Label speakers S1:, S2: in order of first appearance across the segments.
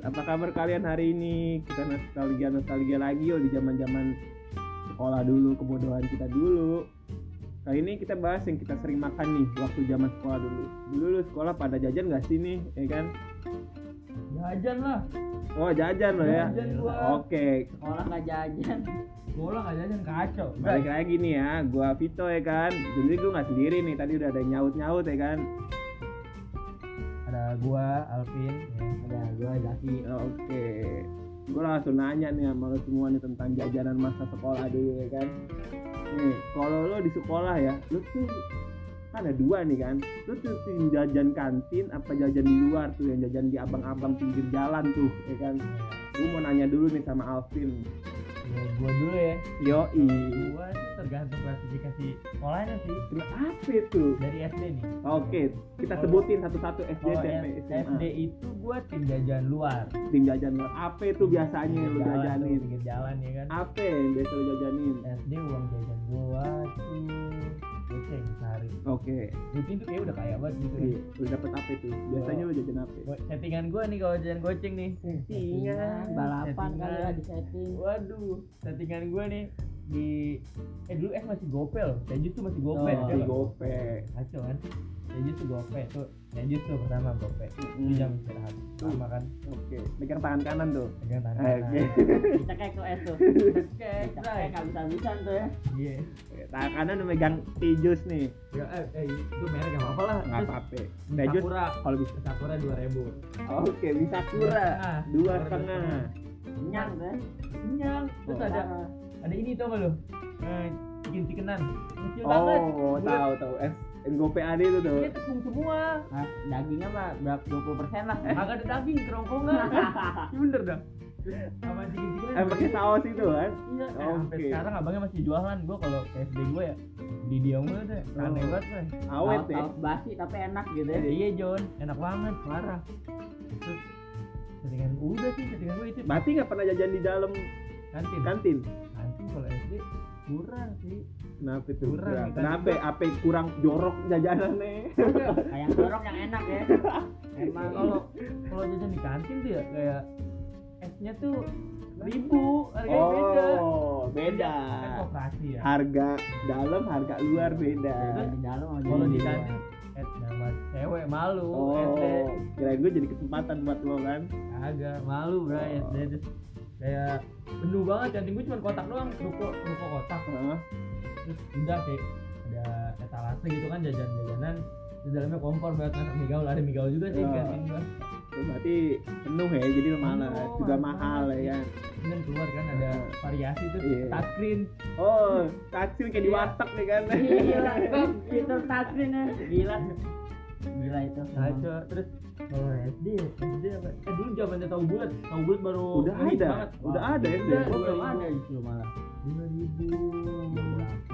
S1: Apa kabar kalian hari ini? Kita nostalgia nostalgia lagi yo di zaman zaman sekolah dulu, kebodohan kita dulu. Kali ini kita bahas yang kita sering makan nih waktu zaman sekolah dulu. Dulu lu sekolah pada jajan gak sih nih, ya kan?
S2: Jajan lah.
S1: Oh jajan lo ya.
S2: Jajan gua.
S1: Oke,
S3: sekolah nggak jajan
S2: Bola nggak jajan kacau.
S1: balik lagi nih ya. Gua Vito ya kan. Jadi gua nggak sendiri nih. Tadi udah ada yang nyaut nyaut ya kan.
S2: Ada gua Alvin, ya. ada gua Zaki.
S1: Oke. Gue langsung nanya nih sama lo semua nih tentang jajanan masa sekolah dulu ya kan. Nih, kalau lo di sekolah ya, lo tuh kan ada dua nih kan. Lo tuh tim jajan kantin apa jajan di luar tuh yang jajan di abang-abang pinggir jalan tuh ya kan. Gue mau nanya dulu nih sama Alvin.
S2: Ya, gua dulu ya.
S1: Yoi.
S2: Gua sih tergantung klasifikasi sekolahnya sih.
S1: Terus apa itu?
S2: Dari SD nih.
S1: Oke, kita sebutin satu-satu SD,
S2: Kalau
S1: SMP,
S2: Oh, S-
S1: SMA.
S2: SD itu gua tim jajan luar.
S1: Tim jajan lo. Apa itu biasanya yang lo
S2: Pinggir jalan tuh,
S1: jajanin? Ah.
S2: Pinggir jalan ya kan.
S1: Apa yang biasa lo jajanin?
S2: SD uang jajan gua tuh goceng sehari.
S1: Oke.
S2: Goceng tuh kayak udah kaya banget gitu.
S1: Iya, lu dapet apa itu? Biasanya lu jajan apa?
S2: Go- Settingan gua nih kalau jajan goceng nih.
S3: Settingan, balapan
S2: settingan.
S3: kali ya di setting
S2: Waduh, settingan gue nih di eh dulu eh masih gopel, Tejus tuh masih gopel.
S3: Oh,
S1: Nasi
S2: coba.
S1: gope.
S2: Kacau kan? Tejus tuh gopel tuh, Tejus tuh pertama gopel. Itu jam
S1: Hmm.
S2: istirahat. Lama kan?
S1: Oke, pegang tangan kanan tuh.
S2: Pegang tangan.
S1: Ah, Oke.
S3: kita kayak es tuh
S2: Cek,
S3: kita
S2: Bray.
S3: kayak bisa habisan tuh ya
S2: Iya.
S1: Tangan kanan udah megang tijus nih.
S2: Ya eh, eh itu merek enggak apa-apa lah.
S1: Enggak apa-apa. Tijus
S2: Sakura,
S1: kalau bisa.
S2: Sakura 2000.
S1: Oke, bisa pura.
S2: Ah,
S1: Dua
S2: Sakura
S1: setengah.
S3: kenyang tuh ya
S2: Kenyang. Terus
S1: Oh.
S2: ada
S3: Parah.
S2: ada ini tau gak lu? Eh, chicken chickenan. Kecil banget. Iya.
S1: Oh,
S2: Bulat.
S1: tahu tahu. Es NGOPAD itu tuh.
S2: Dia tepung semua.
S3: Nah, dagingnya mah berapa 20 persen lah
S2: Agak ada daging kerongkongan. Iya bener dah. Sama chicken chickenan.
S1: Eh, pakai saus itu kan.
S2: Iya, eh, sampai
S1: Oke.
S2: sekarang abangnya masih jualan. Gue kalau ke SD gue ya di dia mulu deh. Aneh
S1: Oh.
S2: banget gue.
S1: Awet ya.
S3: Saus- saus basi tapi enak gitu ya
S2: Iya John, enak banget, parah. Terus settingan udah sih, settingan gue itu
S1: Berarti nggak pernah jajan di dalam
S2: kantin.
S1: kantin.
S2: Kantin kalau SD kurang sih.
S1: Kenapa tuh?
S2: Kurang,
S1: Kurang.
S2: kan?
S1: Kenapa? Apa kurang jorok jajanannya?
S3: kayak dorong yang enak ya
S2: Nah,
S3: emang
S2: kalau kalau jajan di kantin tuh ya kayak esnya tuh ribu harganya beda.
S1: Oh, beda.
S2: Kan koperasi ya.
S1: Harga dalam, harga luar beda.
S3: Jajan di dalam mau
S2: Kalau di
S3: jajan di luar.
S2: kantin eh nama cewek malu
S1: Oh,
S2: SD.
S1: kirain gue jadi kesempatan buat lo kan?
S2: Agak malu bro
S1: Oh.
S2: SD terus kayak penuh banget jantung gue cuma kotak doang ruko ruko kotak
S1: Heeh.
S2: terus udah kayak ada etalase gitu kan jajan jajanan di dalamnya kompor banget anak mie gaul ada mie gaul juga sih di
S1: Iya.
S2: kantin gua
S1: berarti penuh ya, jadi lo malah
S2: Penuh,
S1: juga
S2: harus
S1: mahal
S2: banget.
S1: ya kan?
S2: kemudian keluar kan ada
S1: Iya.
S2: variasi tuh
S1: Iya.
S2: touchscreen
S1: Oh, taksil kayak di
S3: Iya.
S1: watak nih kan?
S3: Gila, Bang. itu tasrin ya gila gila itu
S2: kaca terus kalau SD SD apa eh dulu zamannya tahu bulat tahu bulat baru
S1: udah
S2: unik
S1: ada,
S2: banget.
S1: udah ada ya.
S2: Udah,
S3: Gua
S1: Bro.
S3: belum ada justru malah
S2: dua ribu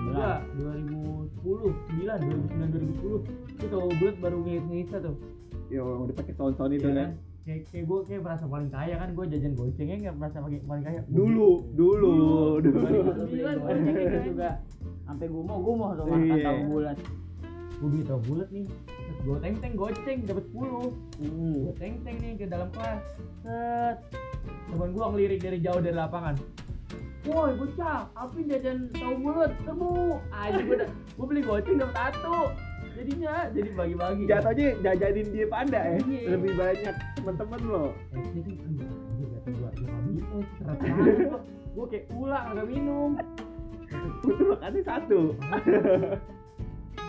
S2: dua dua ribu sepuluh sembilan dua ribu sembilan dua ribu sepuluh itu tahu bulat baru ngehit ngehitnya tuh
S1: Yo, udah pakai sound-sound itu
S2: Iya
S1: kan?
S2: kayak kayak gue kayak merasa paling kaya kan gue jajan gocengnya nggak merasa paling paling kaya
S1: Dulu, dulu, dulu.
S3: Kalau beli
S2: Sembilan,
S3: goceng
S2: Bang.
S3: itu juga sampai gumoh gumoh tuh makan
S1: Iya.
S3: tahu bulat
S2: gue beli tahu bulat nih terus gue teng teng goceng dapat 10
S1: Hmm.
S2: gue teng teng nih ke dalam kelas set teman gue ngelirik dari jauh dari lapangan woi bocah apin jajan tahu bulat temu aja gue gue beli goceng dapat satu jadinya jadi Eh, bagi bagi
S1: Jatuhnya jajanin dia panda ya,
S2: Iya.
S1: lebih banyak temen-temen lo.
S2: SD kan aduh anjir kata gue gue nggak minum Eh, seret banget gue gue kayak ulang nggak minum
S1: Putu makannya satu,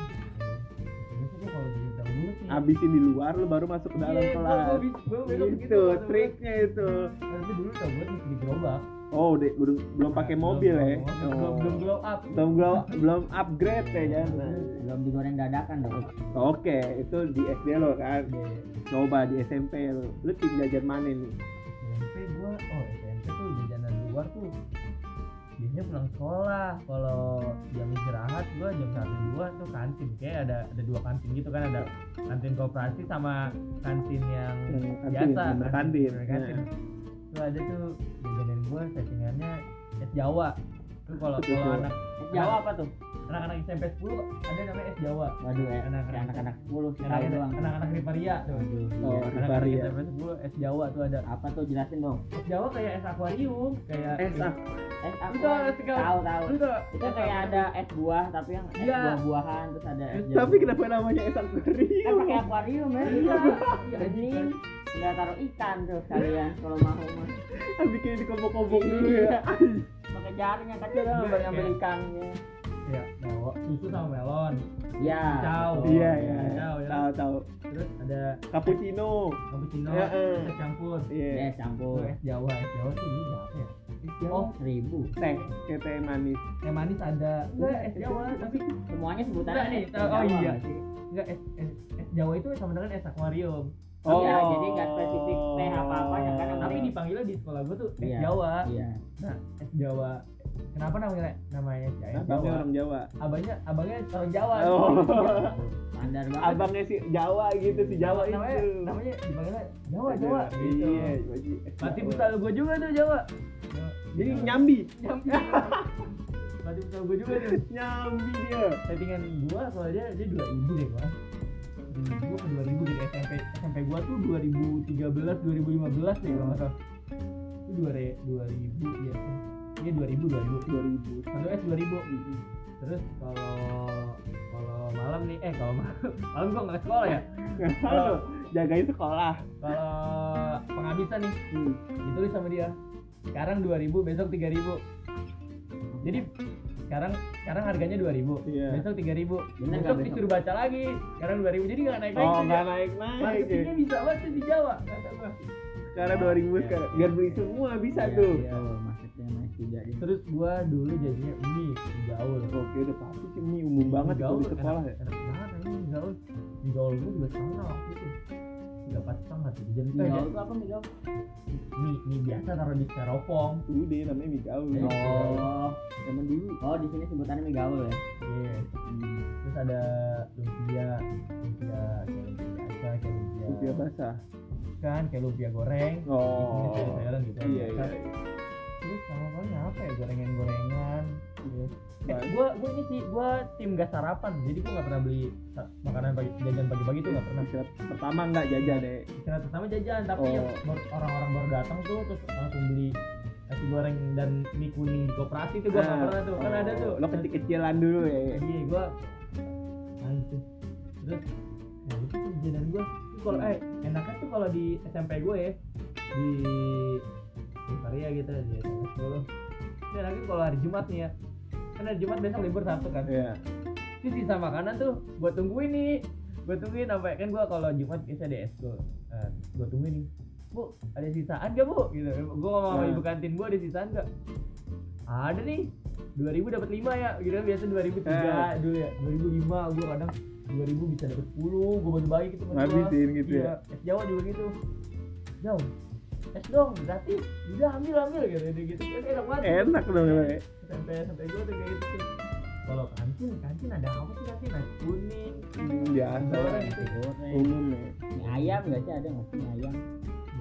S2: Biasanya gua kalau jajan tahu bulat nih
S1: habisin di luar lo baru
S2: Iya,
S1: masuk ke dalam kelas.
S2: gitu,
S1: Gitu, Itu triknya itu.
S2: tapi dulu tau gue di gerobak
S1: Oh, udah, udah belum pakai mobil ya?
S2: belum belum- belum
S1: belum
S2: blow up
S1: belum glow- belum upgrade ya jangan.
S3: belum digoreng dadakan dong
S1: Oke, itu di SD lo kan.
S2: Iya.
S1: Coba di SMP lo, lo tim jajan mana nih?
S2: SMP gua oh SMP tuh jajanan luar tuh biasanya pulang sekolah kalau jam istirahat gua jam satu dua tuh kantin kayak ada ada dua kantin gitu kan ada kantin koperasi sama kantin yang
S1: Yang kantin,
S2: biasa
S1: bener kantin. Iya. ya.
S2: bener kantin tuh ada tuh jajanan gua settingannya es Jawa tuh kalau
S1: Betul.
S2: kalau anak
S3: Jawa apa tuh
S2: anak-anak SMP 10 ada namanya es Jawa
S3: Waduh, eh,
S2: Anak-anak.
S3: kayak anak-anak 10 kita
S2: anak-anak
S3: doang.
S2: anak-anak Riparia tuh
S1: Oh,
S3: Waduh, iya.
S2: anak-anak
S1: Riparia.
S2: SMP 10 es Jawa tuh ada
S3: Apa tuh jelasin dong?
S2: es Jawa kayak es akuarium kayak Iya,
S1: es ah
S3: Eh, aku
S2: Enggak, enggak.
S3: tahu tahu.
S2: Lu tuh-
S3: Itu kayak ada es buah tapi yang es
S2: Iya.
S3: buah-buahan terus ada es jagung.
S1: tapi kenapa namanya es
S3: kan
S1: akuarium
S3: pakai akuarium ya?
S2: Iya. Iya,
S3: Bening. Enggak taruh ikan tuh kalian kalau mau mah.
S1: Ah, bikin dikelompok-kelompok dulu ya
S3: Pakai jaring yang kecil dong buat ngambil ikannya.
S2: Iya, melon, susu sama melon.
S3: Ya.
S2: Kacau.
S3: betul.
S1: iya iya
S2: Tahu, ya.
S1: tahu tahu
S2: Terus ada
S1: cappuccino
S2: cappuccino,
S1: Ya, eh.
S2: es campur.
S1: iya
S3: Ya,
S2: Itu
S3: campur.
S2: es Jawa, es Jawa tuh ini berapa ya?
S3: Oh, seribu.
S1: teh kayak teh manis
S2: Teh manis ada. Enggak, ya, es Jawa tapi
S3: Semuanya sebutannya
S2: Enggak, nih,
S3: es
S2: tahu- oh,
S3: Jawa
S2: iya.
S3: nggak sih?
S2: enggak es, es, es Jawa itu sama dengan es akuarium.
S1: Oh.
S3: Iya, jadi nggak spesifik teh apa-apa, yang kadang-
S2: Tapi dipanggilnya di sekolah gua tuh es
S3: Iya.
S2: Jawa.
S3: Iya.
S2: Nah, es Jawa. Kenapa namanya namanya es
S1: Nah,
S2: es
S1: tapi
S2: Jawa?
S1: orang Jawa
S2: Abangnya abangnya orang Jawa.
S1: Oh.
S3: Standar banget.
S1: abangnya si Jawa gitu si Jawa itu
S2: namanya, namanya dipanggilnya Jawa
S1: Ada,
S2: Jawa. gitu.
S1: iya wajib.
S2: Berarti putar gua juga tuh Jawa. Jawa. Iya.
S1: jadi
S2: Jawa.
S1: nyambi
S2: Berarti putar gua juga tuh.
S1: nyambi dia
S2: settingan gua soalnya dia dua ribu deh kelas dua ribu ke dua ribu gitu SMP SMP gua tuh 2013 2015 deh kalau nggak salah itu dua re dua ribu ya iya dua ribu dua ribu
S1: 2000
S2: satu s dua ribu terus kalau kalau malam nih eh kalau malam malam gua nggak ke sekolah ya
S1: Halo, jagain sekolah.
S2: kalau penghabisan nih
S1: Hmm.
S2: ditulis Gitu sama dia sekarang 2000 besok 3000 jadi sekarang sekarang harganya 2000
S1: Iya.
S2: besok 3000
S3: Bener nggak
S2: besok
S3: besok?
S2: disuruh baca lagi sekarang 2000 jadi nggak Iya. naik naik
S1: Oh, nggak naik-naik. ya.
S2: marketingnya bisa banget tuh di Jawa kata gua.
S1: Karena 2000 sekarang biar beli semua bisa
S3: Iya,
S1: tuh.
S3: iya, maksudnya masih tiga deh.
S2: terus gua dulu jadinya ini gaul
S1: Oke, udah pasti sih ini umum banget kalau di sekolah ya.
S2: enak, enak banget anjing gaul di gaul gua juga setengah waktu itu nggak pas setengah tuh jadi
S1: Iya.
S3: Mie
S2: kayak
S3: gaul tuh apa mie gaul?
S2: mie mie biasa taruh di styrofoam
S1: Udah namanya mie gaul.
S2: Iya.
S3: Oh,
S1: Zaman dulu.
S3: oh di sini sebutannya mie gaul ya.
S2: Iya.
S3: Hmm.
S2: terus ada lumpia lumpia kayak lumpia biasa kayak lumpia
S1: Lumpia basah.
S2: kan kayak lumpia goreng
S1: Oh.
S2: Ini sayur-sayuran gitu
S1: Iya, iya.
S2: Kan. terus sama paling apa ya gorengan gorengan eh,
S1: Baik.
S2: gua gua ini sih gua tim gak sarapan jadi gua nggak pernah beli sa- makanan pagi jajan pagi-pagi tuh nggak pernah
S1: Istirahat pertama nggak jajan deh.
S2: istirahat pertama jajan tapi
S1: Oh.
S2: yang baru- orang-orang baru datang tuh terus langsung beli nasi goreng dan mie kuning di koperasi tuh gua nggak
S1: Ah,
S2: pernah tuh kan ada tuh
S1: Lo kecil-kecilan dulu ya.
S2: iya gua anjir terus nah itu tuh jajanan gua Terus kalau eh enaknya tuh kalau di SMP gue ya di di Korea gitu di SMP 10 itu enaknya kalau hari Jumat nih ya kan hari Jumat besok libur Sabtu kan
S1: Iya.
S2: terus sisa makanan tuh gua tungguin nih gua tungguin sampai kan gua kalau Jumat biasa di eskul Eh, gua tungguin nih bu ada sisaan gak bu gitu gua ngomong sama
S1: Nah.
S2: ibu kantin gua ada sisaan gak ada nih 2000 dapat 5 ya gitu kan biasa 2003
S1: Eh.
S2: dulu ya 2005 gua kadang 2000 bisa dapat 10 gua bagi-bagi gitu sama gua.
S1: Ngabisin gitu ya.
S2: iya, es Jawa juga gitu jauh es dong gratis udah ambil ambil gitu gitu kan enak banget
S1: Enak dong. ya.
S2: sampai sampai gue tuh kayak gitu tuh. kalau kantin kantin ada apa sih kantin nasi kuning
S1: Hmm, Biasa ya.
S2: Goreng gitu.
S3: Goreng.
S1: Umum ya.
S3: Mie ayam nggak sih ada nggak sih mie ayam?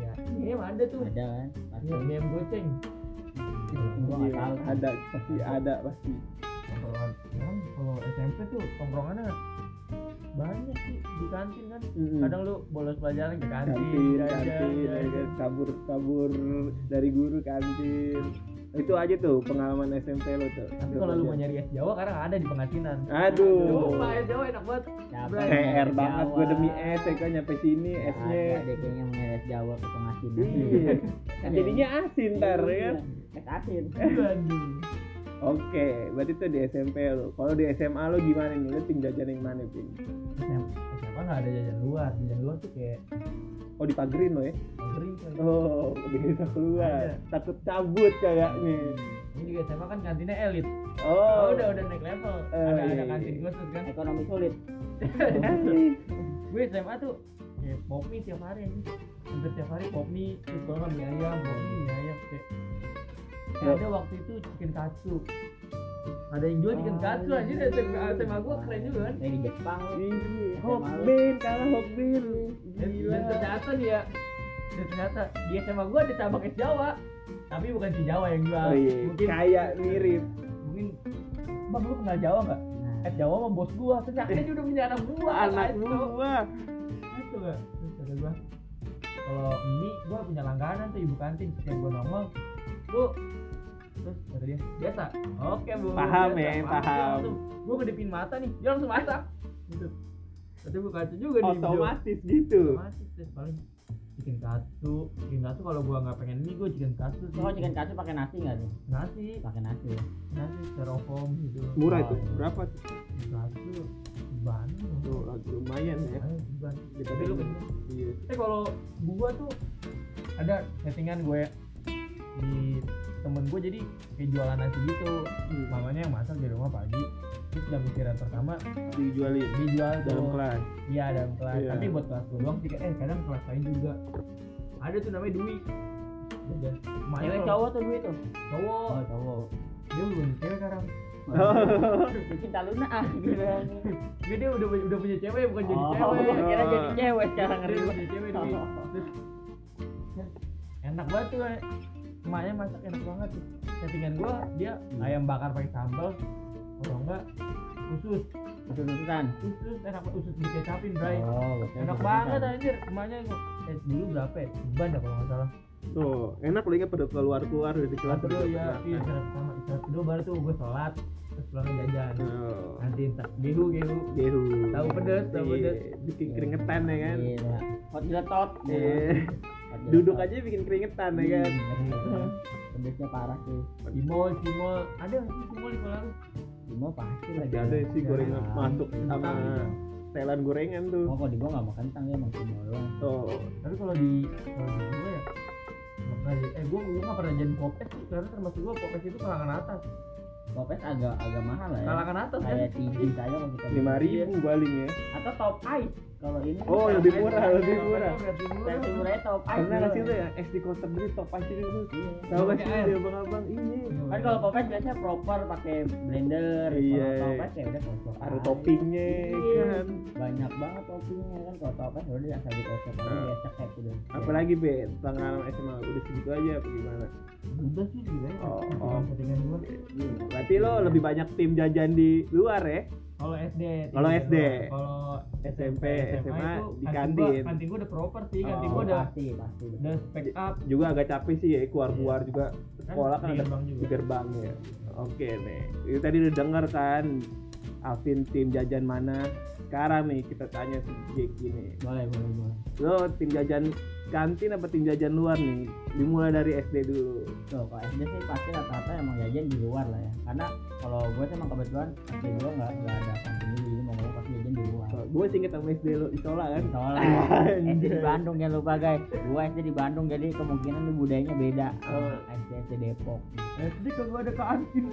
S2: ya ini emang ada tuh
S3: Ada kan? Pasti.
S2: ya, mie ayam goceng
S3: Gua nggak tahu.
S1: Iya, Ada pasti ada pasti.
S2: Tongkrongan. Kan kalau SMP tuh tongkrongannya banyak sih di kantin kan
S1: Mm-mm.
S2: kadang lu bolos pelajaran ke kantin
S1: Hmm. kantin
S2: jajan,
S1: kantin
S2: jajan.
S1: ya kan? kabur kabur dari guru kantin itu aja tuh pengalaman SMP lo tuh
S2: tapi kalau lu mau nyari es Jawa karena ada di pengatinan
S1: aduh
S2: Lupa, es Jawa enak banget
S3: Siapa
S2: Bro,
S3: yang
S1: PR
S3: es
S1: banget
S3: Jawa?
S1: gue demi es ya kan nyampe sini
S3: Nggak
S1: esnya
S3: Ada deh kayaknya mau es Jawa ke pengasinan.
S1: iya jadinya asin ntar
S2: Iya.
S1: ya kan
S3: Es Iya, asin.
S2: aduh
S1: oke berarti itu di SMP lo kalau di SMA lo gimana nih lo tim jajan yang mana pin
S2: SMA nggak ada jajan luar jajan luar tuh kayak
S1: oh dipagerin lo ya
S2: negeri kayak
S1: oh bisa keluar
S2: Ada.
S1: takut cabut kayaknya
S2: ini juga SMA kan kantinnya elit
S1: oh,
S2: oh, udah udah naik level
S1: Eh,
S2: ada
S1: iya,
S2: ada
S1: iya.
S2: kantin khusus kan
S3: Ekonomi sulit.
S1: Asik.
S2: gue SMA tuh ya, pop mie tiap hari aja hampir tiap hari pop mie terus kalau nggak mie ayam pop mie mie ayam kayak Eh,
S1: Yap.
S2: ada waktu itu chicken katsu ada yang jual chicken
S3: Oh,
S2: katsu aja
S3: iya.
S2: dari SMA SMA gue keren juga kan
S3: Dari Jepang.
S1: Ih, Hokbin kalah Hokbin
S2: dan,
S1: Iya.
S2: dan ternyata nih ya dan ternyata di SMA gue ada cabang es Jawa tapi bukan si Jawa yang jual
S1: Oh iya,
S2: mungkin
S1: kayak mirip.
S2: mungkin bang lu kenal Jawa nggak
S3: Nah,
S2: at Jawa mah bos gua ternyata dia udah punya anak gua
S1: anak
S2: kacau.
S1: gua
S2: itu kan terus kata gua kalau mie gua punya langganan tuh ibu kantin setiap gua nongol bu terus kata dia biasa oke bu
S1: Paham
S2: biasa,
S1: ya,
S2: Dia
S1: paham.
S2: langsung, gua kedipin mata nih dia langsung masak gitu tapi gua kacau juga nih Jo.
S1: otomatis gitu
S2: otomatis terus paling chicken katsu chicken katsu kalau gua nggak pengen mie gua chicken katsu sih.
S1: Oh,
S3: Kalau chicken katsu kan pakai nasi nggak tuh?
S2: nasi
S3: Pakai nasi. ya.
S2: nasi styrofoam gitu
S1: murah itu
S2: Wah,
S1: berapa tuh?
S2: chicken katsu Bandung
S1: tuh lagi lumayan ya
S2: Ayo, di Bandung.
S1: daripada
S2: Tapi lu
S1: iya
S2: tapi kalau gua tuh ada settingan gue di temen gue jadi kayak jualan nasi gitu
S1: Hmm,
S2: mamanya yang masak di rumah pagi terus jam istirahat pertama
S1: dijualin
S2: dijual
S1: dalam
S2: tuh.
S1: kelas
S2: iya dalam kelas
S1: Iya.
S2: tapi buat kelas gue doang sih eh kadang kelas lain juga ada tuh namanya Dwi Jajan. Emaknya
S3: Cewek
S2: kalau-
S3: cowok tuh duit tuh.
S2: cowok
S3: Oh cowok.
S2: dia belum punya cewek sekarang
S3: Lu Cinta Luna ah gitu.
S2: dia, dia udah udah punya cewek bukan jadi
S3: Oh,
S2: cewek
S1: iya.
S3: Kira jadi cewek sekarang
S2: Dia
S3: ngeri.
S2: udah
S3: gua.
S2: punya cewek Dwi enak banget tuh eh. emaknya masak enak banget tuh settingan gua dia
S1: Hmm.
S2: ayam bakar pakai sambal kalau enggak usus
S3: Kesusutan.
S2: usus enak banget usus dikecapin bray
S3: Oh,
S2: enak banget anjir emaknya gua eh dulu berapa ya ban ya kalau nggak salah
S1: tuh enak lagi pada keluar keluar dari kelas
S2: satu dulu
S1: udah
S2: ya
S1: makan.
S2: iya istirahat pertama istirahat kedua baru tuh gua sholat terus pulang jajan
S1: Tuh,
S2: nanti tak-
S3: Iya,
S2: gehu gehu
S1: gehu
S2: Tahu pedes, tahu
S1: Iya,
S2: pedes.
S1: bikin keringetan ya kan
S3: Gila. Hot diletot.
S1: Iya.
S3: Hot
S1: duduk
S3: diletot.
S1: aja bikin keringetan ya kan
S3: Hmm. Pedesnya parah sih.
S2: di mall di mall ada nggak sih di mall di kolam
S3: Di mall pasti lagi.
S1: Masih ada sih gorengan
S3: Nah,
S1: masuk sama telan gorengan tuh
S3: Oh, kalau di gua nggak makan kentang dia makan mall doang.
S1: tuh
S2: tapi kalau di kalau di gue ya nggak pernah jadi- eh gue gue nggak pernah jadi popes sih karena termasuk gue popes itu kalangan atas
S3: Popes agak agak mahal lah ya.
S2: kalangan atas kan
S3: Kayak tinggi saya kalau kita
S1: lima ribu paling ya
S3: atau top ice kalau ini kan
S1: Oh,
S3: top
S1: lebih
S3: ice.
S1: murah, lebih
S3: iya,
S1: murah.
S2: berarti murah
S3: Versi murahnya top ice
S1: pernah nggak sih
S3: dulu.
S1: tuh ya, yang SD kotor dari top pasti itu
S3: Iya.
S1: tahu gak sih
S2: Iya.
S1: dia abang abang ini
S3: kan kalau popes biasanya proper pakai blender
S1: Iya.
S3: kalau topes ya udah kocok
S1: ada
S3: aja.
S1: toppingnya
S3: Iya.
S1: kan
S3: banyak banget toppingnya kan kalau topes ya udah asal dikocok aja gitu.
S1: Nah.
S3: dia cekek udah
S1: apalagi be pengalaman SMA udah segitu aja apa gimana
S2: udah sih gitu ya
S1: Oh,
S2: settingan settingan gue
S1: Hmm, berarti lo
S3: Iya.
S1: lebih banyak tim jajan di luar ya
S2: kalau SD
S1: Kalau
S2: tinggi
S1: SD.
S2: gua. kalau
S1: SMP, SMA,
S2: itu
S1: di
S2: kantin
S1: kantin.
S2: gua- kantin gue udah proper sih kantin
S1: Oh,
S2: gue udah
S3: Iya, pasti pasti
S2: udah spek up
S1: juga agak capek sih ya keluar
S3: Iya.
S1: keluar juga sekolah kan
S2: di
S1: ada
S2: gerbang
S1: di
S2: juga
S1: gerbang ya oke nih itu tadi udah denger kan Alvin tim jajan mana sekarang nih kita tanya si Jeki nih
S3: boleh boleh boleh
S1: lo tim jajan kantin apa tim jajan luar nih dimulai dari SD dulu
S3: Tuh, kalau SD sih pasti rata-rata emang jajan di luar lah ya karena kalau gue sih emang kebetulan SD gue nggak nggak ada kantin dulu jadi mau ngomong pasti jajan di luar
S1: gue sih inget sama SD lo Isola kan
S3: soalnya SD di Bandung jangan lupa guys gue SD di Bandung jadi kemungkinan ini budayanya beda sama SD SD Depok
S2: SD kagak ada
S1: Oh,
S2: kantin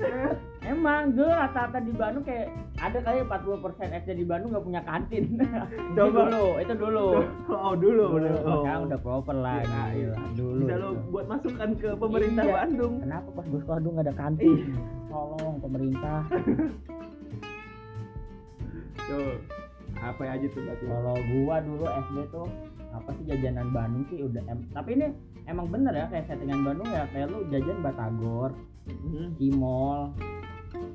S3: emang gue rata-rata di Bandung kayak ada kali 40% SD di Bandung gak punya kantin itu
S1: Coba.
S3: dulu itu dulu
S1: oh dulu udah
S3: Kalau sekarang udah proper
S1: Iya,
S3: lah
S1: iya.
S3: gila. dulu
S1: bisa lo
S3: itu.
S1: buat masukan ke pemerintah
S3: Iya.
S1: Bandung
S3: kenapa pas gue sekolah dulu gak ada kantin tolong pemerintah
S1: tuh apa aja tuh berarti
S3: Kalau gua dulu SD tuh apa sih jajanan Bandung sih udah em- tapi ini emang bener ya kayak settingan Bandung ya kayak lu jajan batagor,
S1: Hmm,
S3: cimol,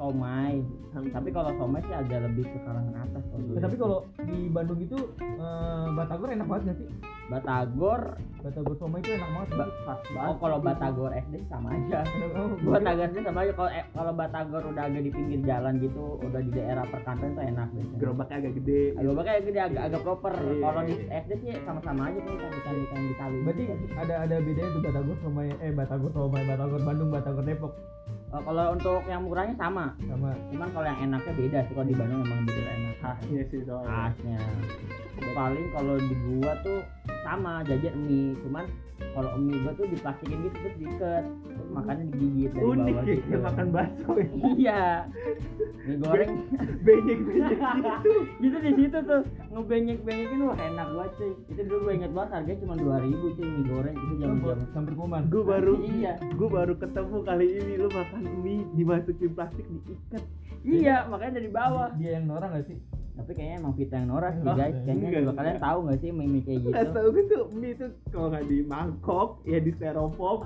S3: somai.
S1: sampai-
S3: Tapi kalau somai sih agak lebih ke kalangan atas kalau
S1: iya.
S3: dulu.
S2: tapi kalau di Bandung itu eh, batagor enak banget gak sih
S3: batagor
S2: batagor somai itu enak banget Iya,
S3: ba- pas banget. Oh kalau batagor SD sama aja.
S2: Gua
S3: Batagor SD sama aja kalau eh, kalau batagor udah agak di pinggir jalan gitu, udah di daerah perkantoran tuh enak biasanya.
S1: gerobaknya agak gede
S3: Agak bakal gede agak agak proper.
S1: Iya.
S3: Kalau di SD sih sama-sama aja tuh kan ikan dikali.
S2: Berarti ada ada bedanya tuh Batagor sama eh Batagor sama Batagor Bandung, Batagor Depok
S3: Eh, kalau untuk yang murahnya sama,
S1: Iya,
S2: sama
S3: cuman kalau yang enaknya beda sih kalau di Bandung memang beda enak khasnya
S1: Iya sih soalnya
S3: khasnya paling kalau di gua tuh sama jajan mie cuman kalau mie gua tuh diplastikin gitu terus diikat terus makannya digigit dari
S1: unik
S3: bawah
S1: ya
S3: gitu
S1: kayak makan bakso ya
S3: iya mie goreng
S1: benyek benyek
S3: gitu di situ tuh ngebenyek benyekin wah enak banget cuy itu dulu gua inget banget harganya cuma dua ribu cuy mie goreng itu zaman zaman
S2: campur kuman.
S1: gue baru
S3: Iya.
S1: gue baru ketemu kali ini lu makan mie dimasukin plastik diikat
S3: iya makanya dari bawah
S2: Dia yang norak gak sih?
S3: tapi kayaknya emang kita yang norak sih
S2: Enggak,
S3: guys kayaknya
S1: Oh, enggak,
S3: juga kalian
S1: enggak.
S3: tahu nggak sih mie mie kayak gitu
S1: nggak tahu kan tuh mie tuh kalau nggak di mangkok ya di styrofoam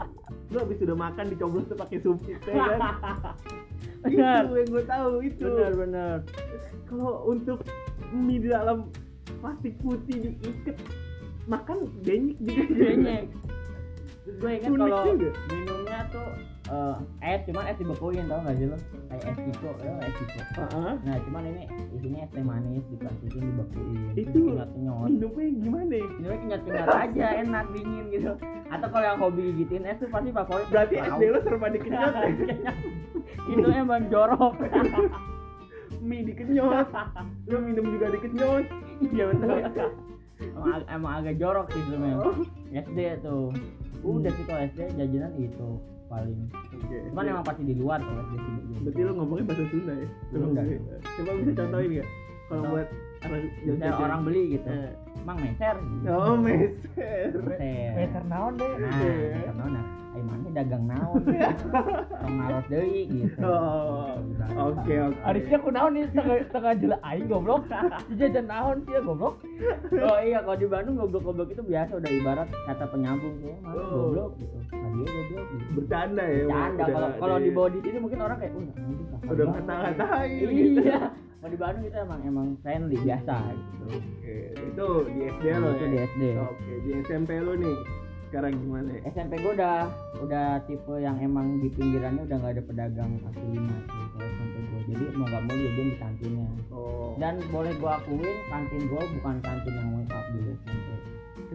S1: lu habis udah makan dicoblos tuh pakai sumpit ya kan gitu, itu
S3: Benar.
S1: yang gue tahu itu
S3: bener bener
S1: kalau untuk mie di dalam plastik putih diikat makan denyek juga
S3: Denyek. gue ingat
S1: Unik
S3: kalau
S1: juga.
S3: minumnya tuh eh, es cuman es dibekuin tau gak sih lo kayak es kiko ya es kiko
S1: Heeh.
S3: nah cuman ini isinya es teh manis diplastikin dibekuin
S1: Itu
S3: kenyot kenyot
S1: minumnya gimana ya?
S3: minumnya kenyot kenyot aja enak dingin gitu atau kalau yang hobi gigitin es tuh pasti favorit
S1: berarti
S3: Wow.
S1: SD lo serba dikenyot ya?
S3: itu emang jorok
S1: mie dikenyot lo minum juga dikenyot
S3: iya betul Iya. emang, ag- emang agak jorok sih sebenarnya
S1: oke
S3: SD tuh udah sih kalau SD jajanan itu paling cuman emang pasti di luar kalau SD sih jajanan.
S1: berarti lo ngomongnya bahasa Sunda ya?
S3: Sunda. iya.
S1: coba bisa contohin nggak? kalau
S3: Contoh.
S1: buat orang
S3: Misalnya orang beli gitu
S1: Eh.
S3: mang meser
S1: oh meser
S3: meser
S1: Eh.
S2: Meter naon deh.
S3: nah
S1: Iya.
S3: meser naon nah ayo mana dagang naon gitu. tong ngaros deui gitu
S1: Oh, oke oke
S3: kan
S2: Harusnya aku naon nih tengah tengah jelek aing goblok.
S3: Iya,
S2: Jajan naon sih ya, goblok.
S3: oh iya kalau di Bandung goblok-goblok itu biasa udah ibarat kata penyambung tuh mana
S1: Oh.
S3: goblok gitu tadi goblok gitu
S1: bercanda ya
S3: bercanda
S1: udah
S3: kalau
S1: ada
S3: kalau di
S1: ya.
S3: bawah di sini mungkin orang kayak "Oh, ya, udah anjing kasar
S1: udah
S3: banget."
S1: ngata-ngatain gitu
S3: iya kalau di Bandung itu emang emang friendly biasa gitu
S1: oke itu di SD lo
S3: itu
S1: ya
S3: di SD
S1: oke di SMP lo nih sekarang gimana ya?
S3: SMP gue udah udah tipe yang emang di pinggirannya udah nggak ada pedagang kaki lima tuh kalau SMP gue jadi mau nggak mau jajan di kantinnya
S1: oh
S3: dan boleh gue akuin kantin gue bukan kantin yang lengkap di SMP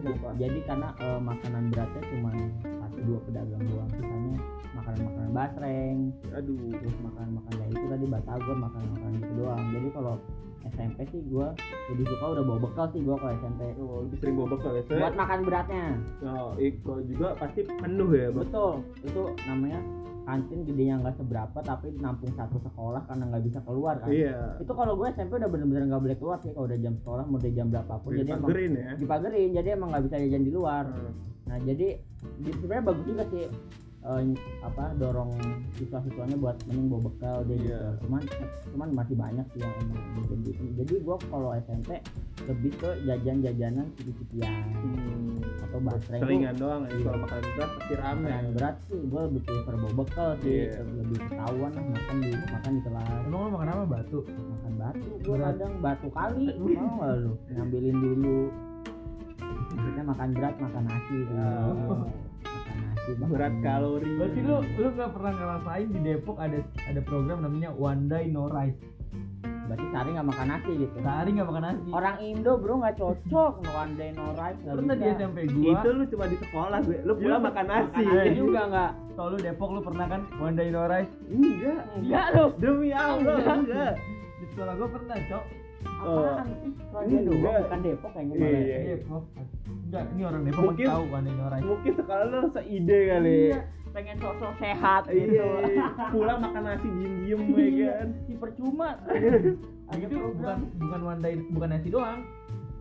S1: kenapa
S3: jadi karena eh, makanan beratnya cuma satu dua pedagang doang sisanya makanan makanan basreng
S1: aduh
S3: terus makan makan ya itu tadi batagor makan makan gitu doang jadi kalau SMP sih gue lebih suka udah bawa bekal sih gue kalau SMP
S1: oh, lebih sering bawa bekal ya
S3: buat makan beratnya
S1: Nah, Iko juga pasti penuh ya, Bang.
S3: betul itu namanya kantin gedenya nggak seberapa tapi nampung satu sekolah karena nggak bisa keluar kan
S1: Iya.
S3: itu kalau gue SMP udah bener-bener nggak boleh keluar sih kalau udah jam sekolah mau dari jam berapapun jadi emang
S1: Dipagerin ya.
S3: dipagerin jadi emang nggak bisa jajan di luar
S1: Hmm.
S3: nah jadi di- sebenarnya bagus juga sih eh, apa dorong siswa-siswanya buat mending bawa bekal
S1: Iya.
S3: deh gitu cuman cuman masih banyak sih yang emang jajan gitu jadi gua kalau SMP lebih ke jajan-jajanan cicipian atau basreng tuh
S1: Seringan doang ya.
S3: Iya.
S1: Kalau makan berat pasti rame.
S3: makanan berat sih gua lebih prefer bawa bekal sih
S1: Iya.
S3: lebih ketahuan lah makan di makan di kelas
S2: Emang lu makan apa batu?
S3: makan batu gua
S2: Berat.
S3: kadang batu kali mau nggak lu ngambilin dulu maksudnya makan berat makan nasi
S1: Ya.
S3: makan nasi
S1: Berat
S3: kalau
S1: kalori.
S2: Berarti lu lu gak pernah ngerasain di Depok ada ada program namanya One Day No Rice.
S3: berarti sehari nggak makan nasi gitu
S2: Sehari gak makan nasi.
S3: orang Indo bro nggak cocok no one day no rice nggak
S2: Pernah di
S3: bisa.
S2: SMP
S1: Itu
S2: gua,
S1: lu cuma di sekolah gue. Lu
S2: Iya,
S1: pulang makan nasi.
S3: makan nasi juga nggak
S2: soal lu Depok lu pernah kan One Day No Rice?
S1: Enggak.
S3: enggak lu
S1: Demi Allah, enggak.
S2: Di sekolah gua pernah, Cok.
S3: apaan kalau dia
S1: Enggak.
S3: dulu bukan Depok gitu. kayaknya malah.
S1: Iya, iya.
S2: Depok. Enggak, ini orang Depok
S1: Mungkin-
S2: Mungkin... tahu One Day No Rice.
S1: Mungkin sekolah lu rasa ide kali.
S3: Iya, pengen sosok sehat
S1: Iya.
S3: gitu
S1: Pulang makan nasi diem-diem ya kan.
S3: si percuma
S2: Nah,
S3: ada
S2: itu bukan
S3: program
S2: bukan one day bukan nasi doang.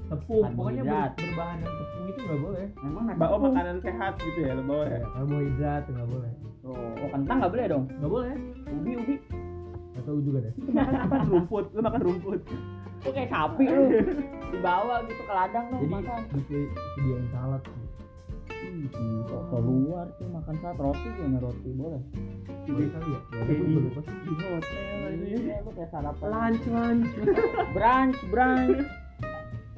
S2: Tepung, pokoknya ber-
S3: Karbohidrat.
S2: berbahan yang tepung itu nggak boleh.
S3: memang nasi
S1: Bawa
S3: tepung.
S1: makanan sehat gitu ya, lu bawa ya.
S2: Karbohidrat nggak boleh.
S3: oh
S1: Oh.
S3: kentang nggak boleh dong
S2: Nggak boleh.
S3: ubi ubi
S2: Gak tahu juga deh.
S1: Makan apa? Kan Rumput. Lu makan rumput.
S3: lu kayak sapi lu dibawa gitu ke ladang lu
S2: Jadi
S3: makan
S2: disi- disediain salad.
S1: Hmm.
S3: Ih, kok keluar tuh makan saat roti gimana roti boleh
S2: Boleh kali ya.
S1: Jadi-
S2: Tapi gua lupa.
S1: Di hotel aja.
S3: iya lu kayak sarapan
S1: Lunch, lunch.
S3: brunch brunch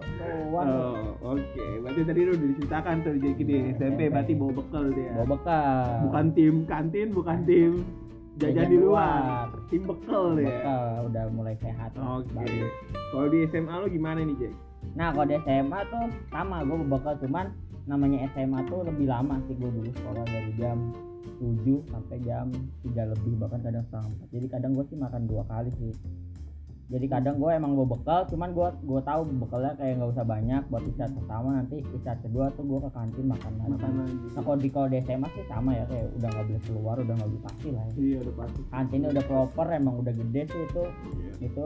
S1: Oh, oke. Berarti tadi lu udah diceritakan tuh jadi di
S3: Iya,
S1: SMP
S3: SMP.
S1: berarti bawa bekal dia.
S3: bawa bekal
S1: Bukan tim kantin, bukan tim jajan di luar. Tim bekal
S3: Bawa
S1: dia.
S3: bekal udah mulai sehat
S1: Oke.
S3: Bagus.
S1: Kalau di SMA lu gimana nih, Jack?
S3: nah kalau di SMA tuh sama gue bekal cuman namanya SMA tuh lebih lama sih gue dulu sekolah dari jam 7 sampai jam 3 lebih bahkan kadang setengah empat. jadi kadang gue sih makan dua kali sih jadi kadang gue emang bawa bekal cuman gue gue tahu bekalnya kayak nggak usah banyak buat istirahat pertama nanti istirahat kedua tuh gue ke kantin makan lagi
S1: Makan lagi.
S3: nah kalau di kalau di SMA sih sama ya kayak udah nggak boleh keluar udah nggak boleh pasti lah ya.
S1: Iya, udah pasti.
S3: kantinnya udah proper emang udah gede sih itu
S1: Iya.
S3: itu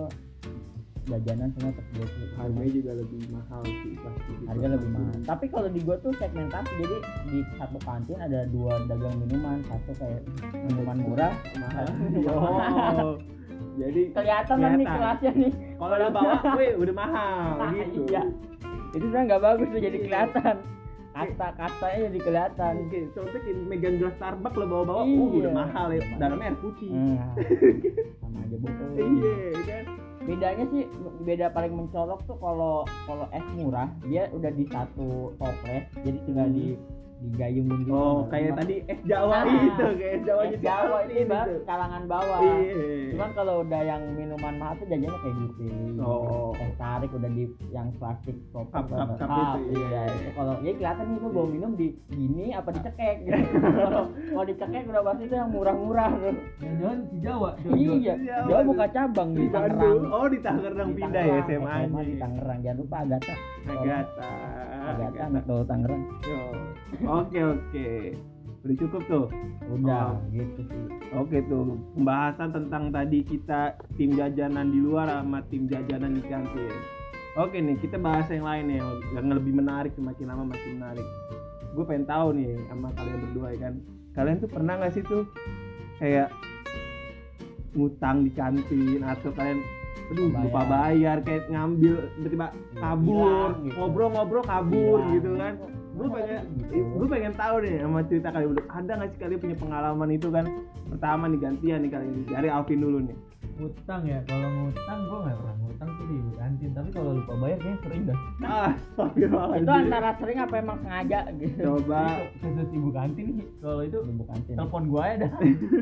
S3: jajanan semua tersedia sih
S1: Harganya juga lebih mahal sih pasti.
S3: harga lebih mahal tapi kalau di gua tuh segmentasi jadi di satu kantin ada dua dagang minuman satu kayak minuman murah
S1: Mahal. Oh. Jadi
S3: kelihatan lah nih
S1: Kelihatan.
S3: kelasnya nih
S1: kalau lu bawa, weh udah mahal gitu.
S3: iya itu sebenarnya nggak bagus tuh jadi kelihatan kata katanya jadi kelihatan
S1: Oke, contoh kayak megang gelas Starbucks lo bawa-bawa,
S3: kan. Iya.
S1: uh udah mahal ya. Dalamnya air putih.
S3: Hmm. Iya. sama aja bohong
S1: iya kan
S3: bedanya sih beda paling mencolok tuh kalau kalau es murah dia udah di satu toples jadi tinggal di digayungin
S1: oh
S3: gitu sama
S1: kayak
S3: rumah.
S1: tadi es Jawa
S3: Ah,
S1: itu kayak es Jawa gitu.
S3: es Jawa ini bang kalangan bawah
S1: iya
S3: cuman kalau udah yang minuman mahal tuh jajannya kayak gitu
S1: Oh.
S3: teh tarik udah di yang plastik top
S1: Cup, cup, cup itu, iya,
S3: iya
S1: iya.
S3: itu kalau ya kelihatan nih gue bawa minum di gini apa dicekek gitu kalau kalau dicekek udah pasti itu yang murah-murah tuh
S2: jangan si Jawa jangan-jangan.
S3: iya
S1: Iya,
S3: Jawa
S1: waduh.
S3: buka cabang
S1: di
S3: di
S1: Bandung
S3: Tangerang
S1: oh di Tangerang
S3: Di
S1: pindah ya Ah,
S3: Tangerang,
S1: SMA
S3: SMA di
S1: nya
S3: Tangerang jangan lupa Agata
S1: Agata
S3: Agata
S1: Agata.
S3: anak gaul Tangerang
S1: Yo. oke oke udah cukup tuh
S3: udah
S1: Oh.
S3: gitu sih
S1: Oke tuh pembahasan tentang tadi kita tim jajanan di luar sama tim jajanan di kantin. Oke nih kita bahas yang lain nih yang lebih menarik semakin lama makin menarik. Gue pengen tahu nih sama kalian berdua ya kan. Kalian tuh pernah nggak sih tuh kayak ngutang di kantin atau kalian aduh
S3: Lupa
S1: lupa bayar kayak ngambil tiba-tiba kabur
S3: Hilang Iya, gitu.
S1: ngobrol-ngobrol kabur
S3: Gila.
S1: gitu kan gue
S3: Masa
S1: pengen
S3: gitu?
S1: gue pengen tahu deh sama cerita kalian berdua ada nggak sih kalian punya pengalaman itu kan pertama nih gantian nih kalian dari Alvin dulu nih
S2: utang ya kalau ngutang gue nggak pernah ngutang sih di kantin tapi kalau lupa bayar kayaknya sering dah
S1: ah
S3: itu
S1: astagfirullahaladzim
S3: antara sering apa emang sengaja gitu
S1: coba
S2: khusus ibu kantin nih kalau itu
S3: ibu kantin
S2: telepon gue aja dah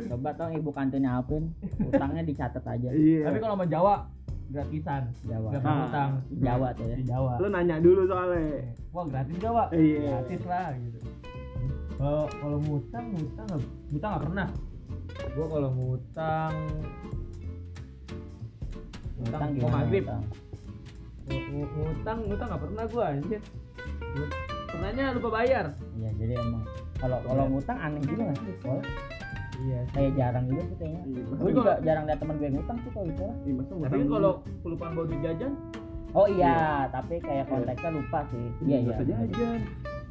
S3: coba tolong ibu kantinnya Alvin utangnya dicatat aja
S1: iya
S2: tapi kalau sama Jawa gratisan
S3: Jawa
S2: nggak pernah
S1: Ah.
S2: utang
S3: Jawa tuh ya
S2: di Jawa
S1: lu nanya dulu soalnya
S2: wah gratis Jawa
S1: iya
S2: gratis lah gitu kalau kalau ngutang ngutang nggak ngutang nggak pernah gue kalau ngutang ngutang
S3: utang
S2: mau
S3: gimana
S2: maghrib
S3: utang?
S2: Ng- ng- ngutang ngutang nggak pernah gue anjir Ngut- pernahnya lupa bayar
S3: Iya jadi emang kalau kalau
S2: Iya.
S3: ngutang aneh juga nggak sih di sekolah?
S2: iya
S3: Kayak jarang juga sih kayaknya.
S1: Iya,
S3: Gue
S1: masa-
S3: juga jarang liat teman gue ngutang sih kalau di sekolah.
S1: iya, masa
S2: tapi
S1: ngutang
S2: kalau kelupaan bawa duit jajan
S3: Oh iya, tapi kayak konteksnya lupa sih.
S1: dulu?
S3: Iya
S1: Nggak
S3: iya.
S1: usah jajan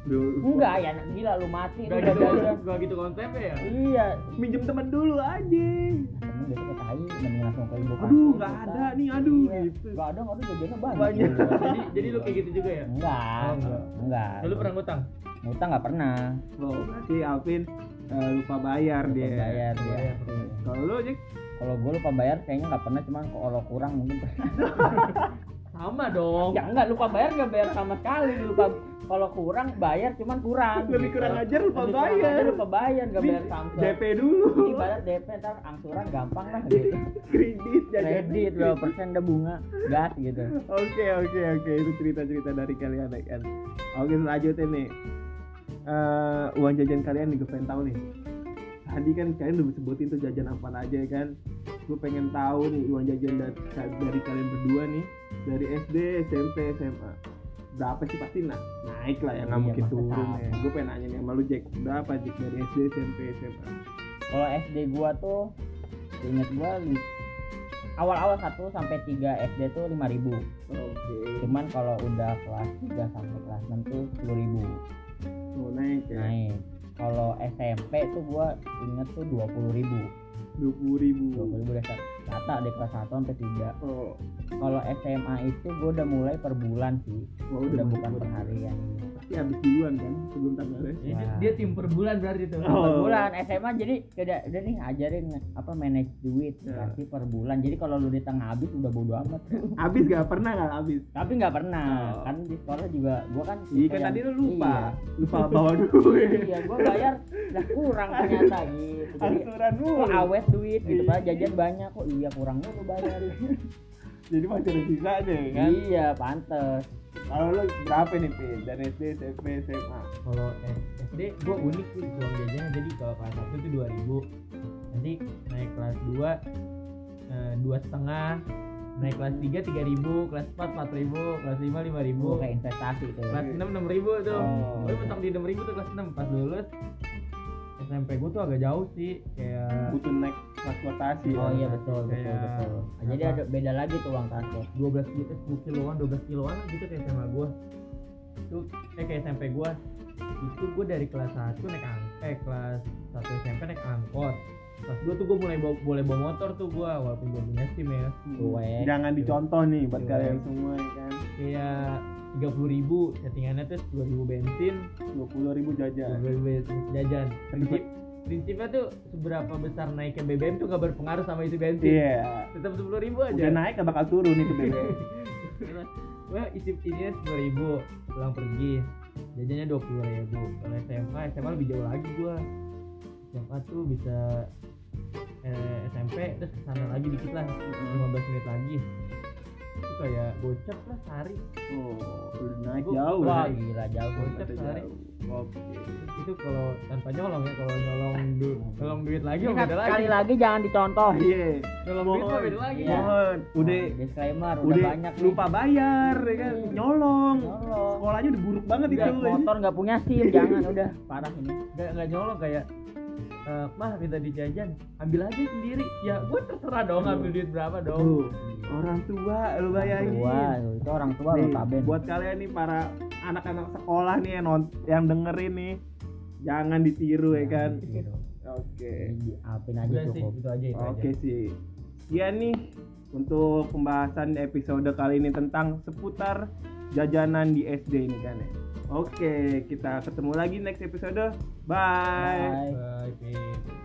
S1: Duh,
S3: Enggak ya anak gila lu mati lu
S2: udah
S3: udah
S2: gitu
S3: jajan.
S2: nggak gitu konsepnya ya
S3: Iya.
S1: minjem teman dulu aja
S3: Temen biasa kayak tai mending langsung ke ibu
S1: aduh
S3: kantin,
S1: nggak
S3: ngutang.
S1: ada nih aduh
S3: Iya.
S1: gitu
S3: Nggak ada nggak ada jajannya banyak.
S1: Banyak.
S2: jadi jadi lu kayak gitu juga ya
S3: Enggak,
S2: Oh, enggak.
S3: enggak.
S2: Nah, lu pernah ngutang
S3: ngutang nggak pernah.
S1: oh berarti Alvin eh, lupa bayar
S3: Lupa
S1: dia
S3: Bayar dia.
S2: Bayar.
S3: Iya.
S1: kalau lu Jack
S3: Kalau gue lupa bayar kayaknya nggak pernah, cuman kalau kurang mungkin
S2: sama dong
S3: ya enggak lupa bayar nggak bayar sama sekali lupa kalau kurang bayar cuman kurang
S1: lebih
S3: gitu.
S1: kurang ajar lupa
S3: Lebih kurang
S1: bayar
S3: aja lupa bayar nggak
S1: Ini
S3: bayar samsung
S1: DP dulu
S3: ini bayar DP ntar angsuran gampang lah gitu
S1: kredit jajan
S3: kredit berapa persen ada bunga gas gitu
S1: Oke oke oke itu cerita cerita dari kalian ya kan. Oke selanjutnya nih Eh, uang jajan kalian nih gue pengen tahu nih. Tadi kan kalian udah sebutin tuh jajan apa aja ya kan. Gue pengen tahu nih uang jajan dari, dari kalian berdua nih dari SD SMP SMA berapa sih pasti nah naik lah ya nggak
S3: Iya,
S1: mungkin
S3: pasti
S1: turun
S3: sama.
S1: ya. Gue pengen nanya nih sama lu Jack berapa Jack dari SD SMP SMA?
S3: kalau SD gua tuh inget gua li- awal-awal 1 sampai 3 SD tuh 5000
S1: Oke.
S3: cuman kalau udah kelas 3 sampai kelas 6 tuh 10000
S1: Mau naik ya
S3: naik kalau SMP tuh gua inget tuh 20000
S1: dua puluh ribu.
S3: 20000 udah rata deh kelas 1 sampai 3
S1: Oh,
S3: kalau SMA itu gue udah mulai per bulan sih
S1: wah,
S3: udah,
S1: udah
S3: bukan
S1: masuk-
S3: per hari kan
S1: pasti habis duluan kan sebelum tanggalnya.
S2: Jadi
S3: Wah.
S2: dia tim per bulan berarti tuh
S1: Oh.
S3: per bulan SMA jadi udah udah nih ajarin apa manage duit
S1: Ya.
S3: kasih per bulan jadi kalau lu di tengah habis udah bodo amat
S1: Abis gak pernah gak abis?
S3: tapi nggak pernah
S1: Oh.
S3: kan di sekolah juga gue kan
S1: Iya
S3: kayak-
S1: kan tadi lu lupa, lupa bawa duit.
S3: iya gue bayar lah kurang ternyata gitu jadi
S1: Angsuran
S3: kok
S1: dulu.
S3: awet duit gitu
S1: Iya.
S3: padahal jajan banyak kok iya kurang mulu bayar
S1: Jadi masih ada sisa aja ya kan.
S3: iya pantes
S1: Kalau lu berapa nih Pin? Dari SD, SMP,
S3: Nah.
S1: SMA.
S2: kalau eh, SD gue unik sih uang jajannya jadi kalau kelas satu itu dua ribu nanti naik kelas dua eh, dua setengah naik kelas tiga tiga ribu kelas empat empat ribu kelas lima lima ribu
S3: gue kayak investasi tuh
S1: Iya.
S2: kelas enam enam ribu tuh
S1: Oh.
S2: gue mentok di enam ribu tuh kelas enam pas lulus SMP gue tuh agak jauh sih kayak
S1: Butuh naik transportasi.
S3: oh
S1: ya.
S3: iya betul betul
S2: Kayak-
S3: betul Nah, jadi
S2: apa?
S3: ada beda lagi tuh uang transport
S2: 12 gitu, 10 kiloan, 12 kiloan gitu kayak SMA gua. Itu eh kayak SMP gua. Itu gua dari kelas 1 naik ang eh kelas 1 SMP naik angkot. Kelas 2 tuh gua mulai bawa, boleh bawa motor tuh gua walaupun gua punya SIM ya.
S3: Cuek.
S1: Hmm. Jangan dicontoh nih buat
S2: Cuek.
S1: kalian semua ya kan.
S2: Kayak 30 ribu settingannya tuh 10 ribu bensin,
S1: 20 ribu jajan.
S2: 20 ribu jajan. Prinsip prinsipnya tuh seberapa besar naiknya BBM tuh gak berpengaruh sama isi bensin
S1: Iya.
S2: tetap sepuluh ribu
S1: Udah
S2: aja
S1: naik gak bakal turun itu BBM.
S2: Wah, isi isinya sepuluh ribu pulang pergi jajannya dua puluh ribu kalau SMA SMA lebih jauh lagi gua SMA tuh bisa eh, SMP terus kesana lagi dikit lah 15 menit lagi itu kayak gocap lah sehari
S1: Oh, udah naik
S2: Gua-
S1: jauh.
S2: Wah,
S3: Wah,
S1: naik.
S3: gila jauh.
S2: gocap
S1: Udah
S2: sehari
S1: jauh. Oke.
S2: itu kalau tanpa nyolong ya kalau nyolong du- nyolong duit lagi
S3: Ini
S2: beda lagi
S3: sekali lagi jangan dicontoh.
S1: Iya.
S2: nyolong duit mah
S1: Mohon.
S2: beda lagi ya.
S3: Iya.
S1: Mohon. Udah
S3: disclaimer udah,
S1: udah
S3: banyak nih.
S1: lupa bayar ya kan
S2: Hmm.
S1: nyolong
S3: Nyolong.
S1: sekolahnya udah buruk banget itu ya.
S3: Udah,
S1: anjing.
S3: motor nggak punya SIM, jangan udah parah ini.
S2: nggak nggak nyolong kayak eh, mah minta dijajan ambil aja sendiri ya gue terserah dong ambil duit berapa dong
S1: Tuh, orang tua lu bayangin
S3: Tua, lu, itu orang tua lu
S1: Nih,
S3: taben.
S1: buat kalian nih para anak-anak sekolah nih yang, non- yang dengerin nih jangan ditiru ya kan
S3: Gitu.
S1: oke
S3: Jadi Apin aja
S2: udah sih
S3: cukup.
S2: itu aja itu
S1: oke
S2: aja
S1: sih ya nih untuk pembahasan episode kali ini tentang seputar jajanan di SD ini kan ya oke kita ketemu lagi next episode bye.
S3: Bye.
S2: Bye, Pin.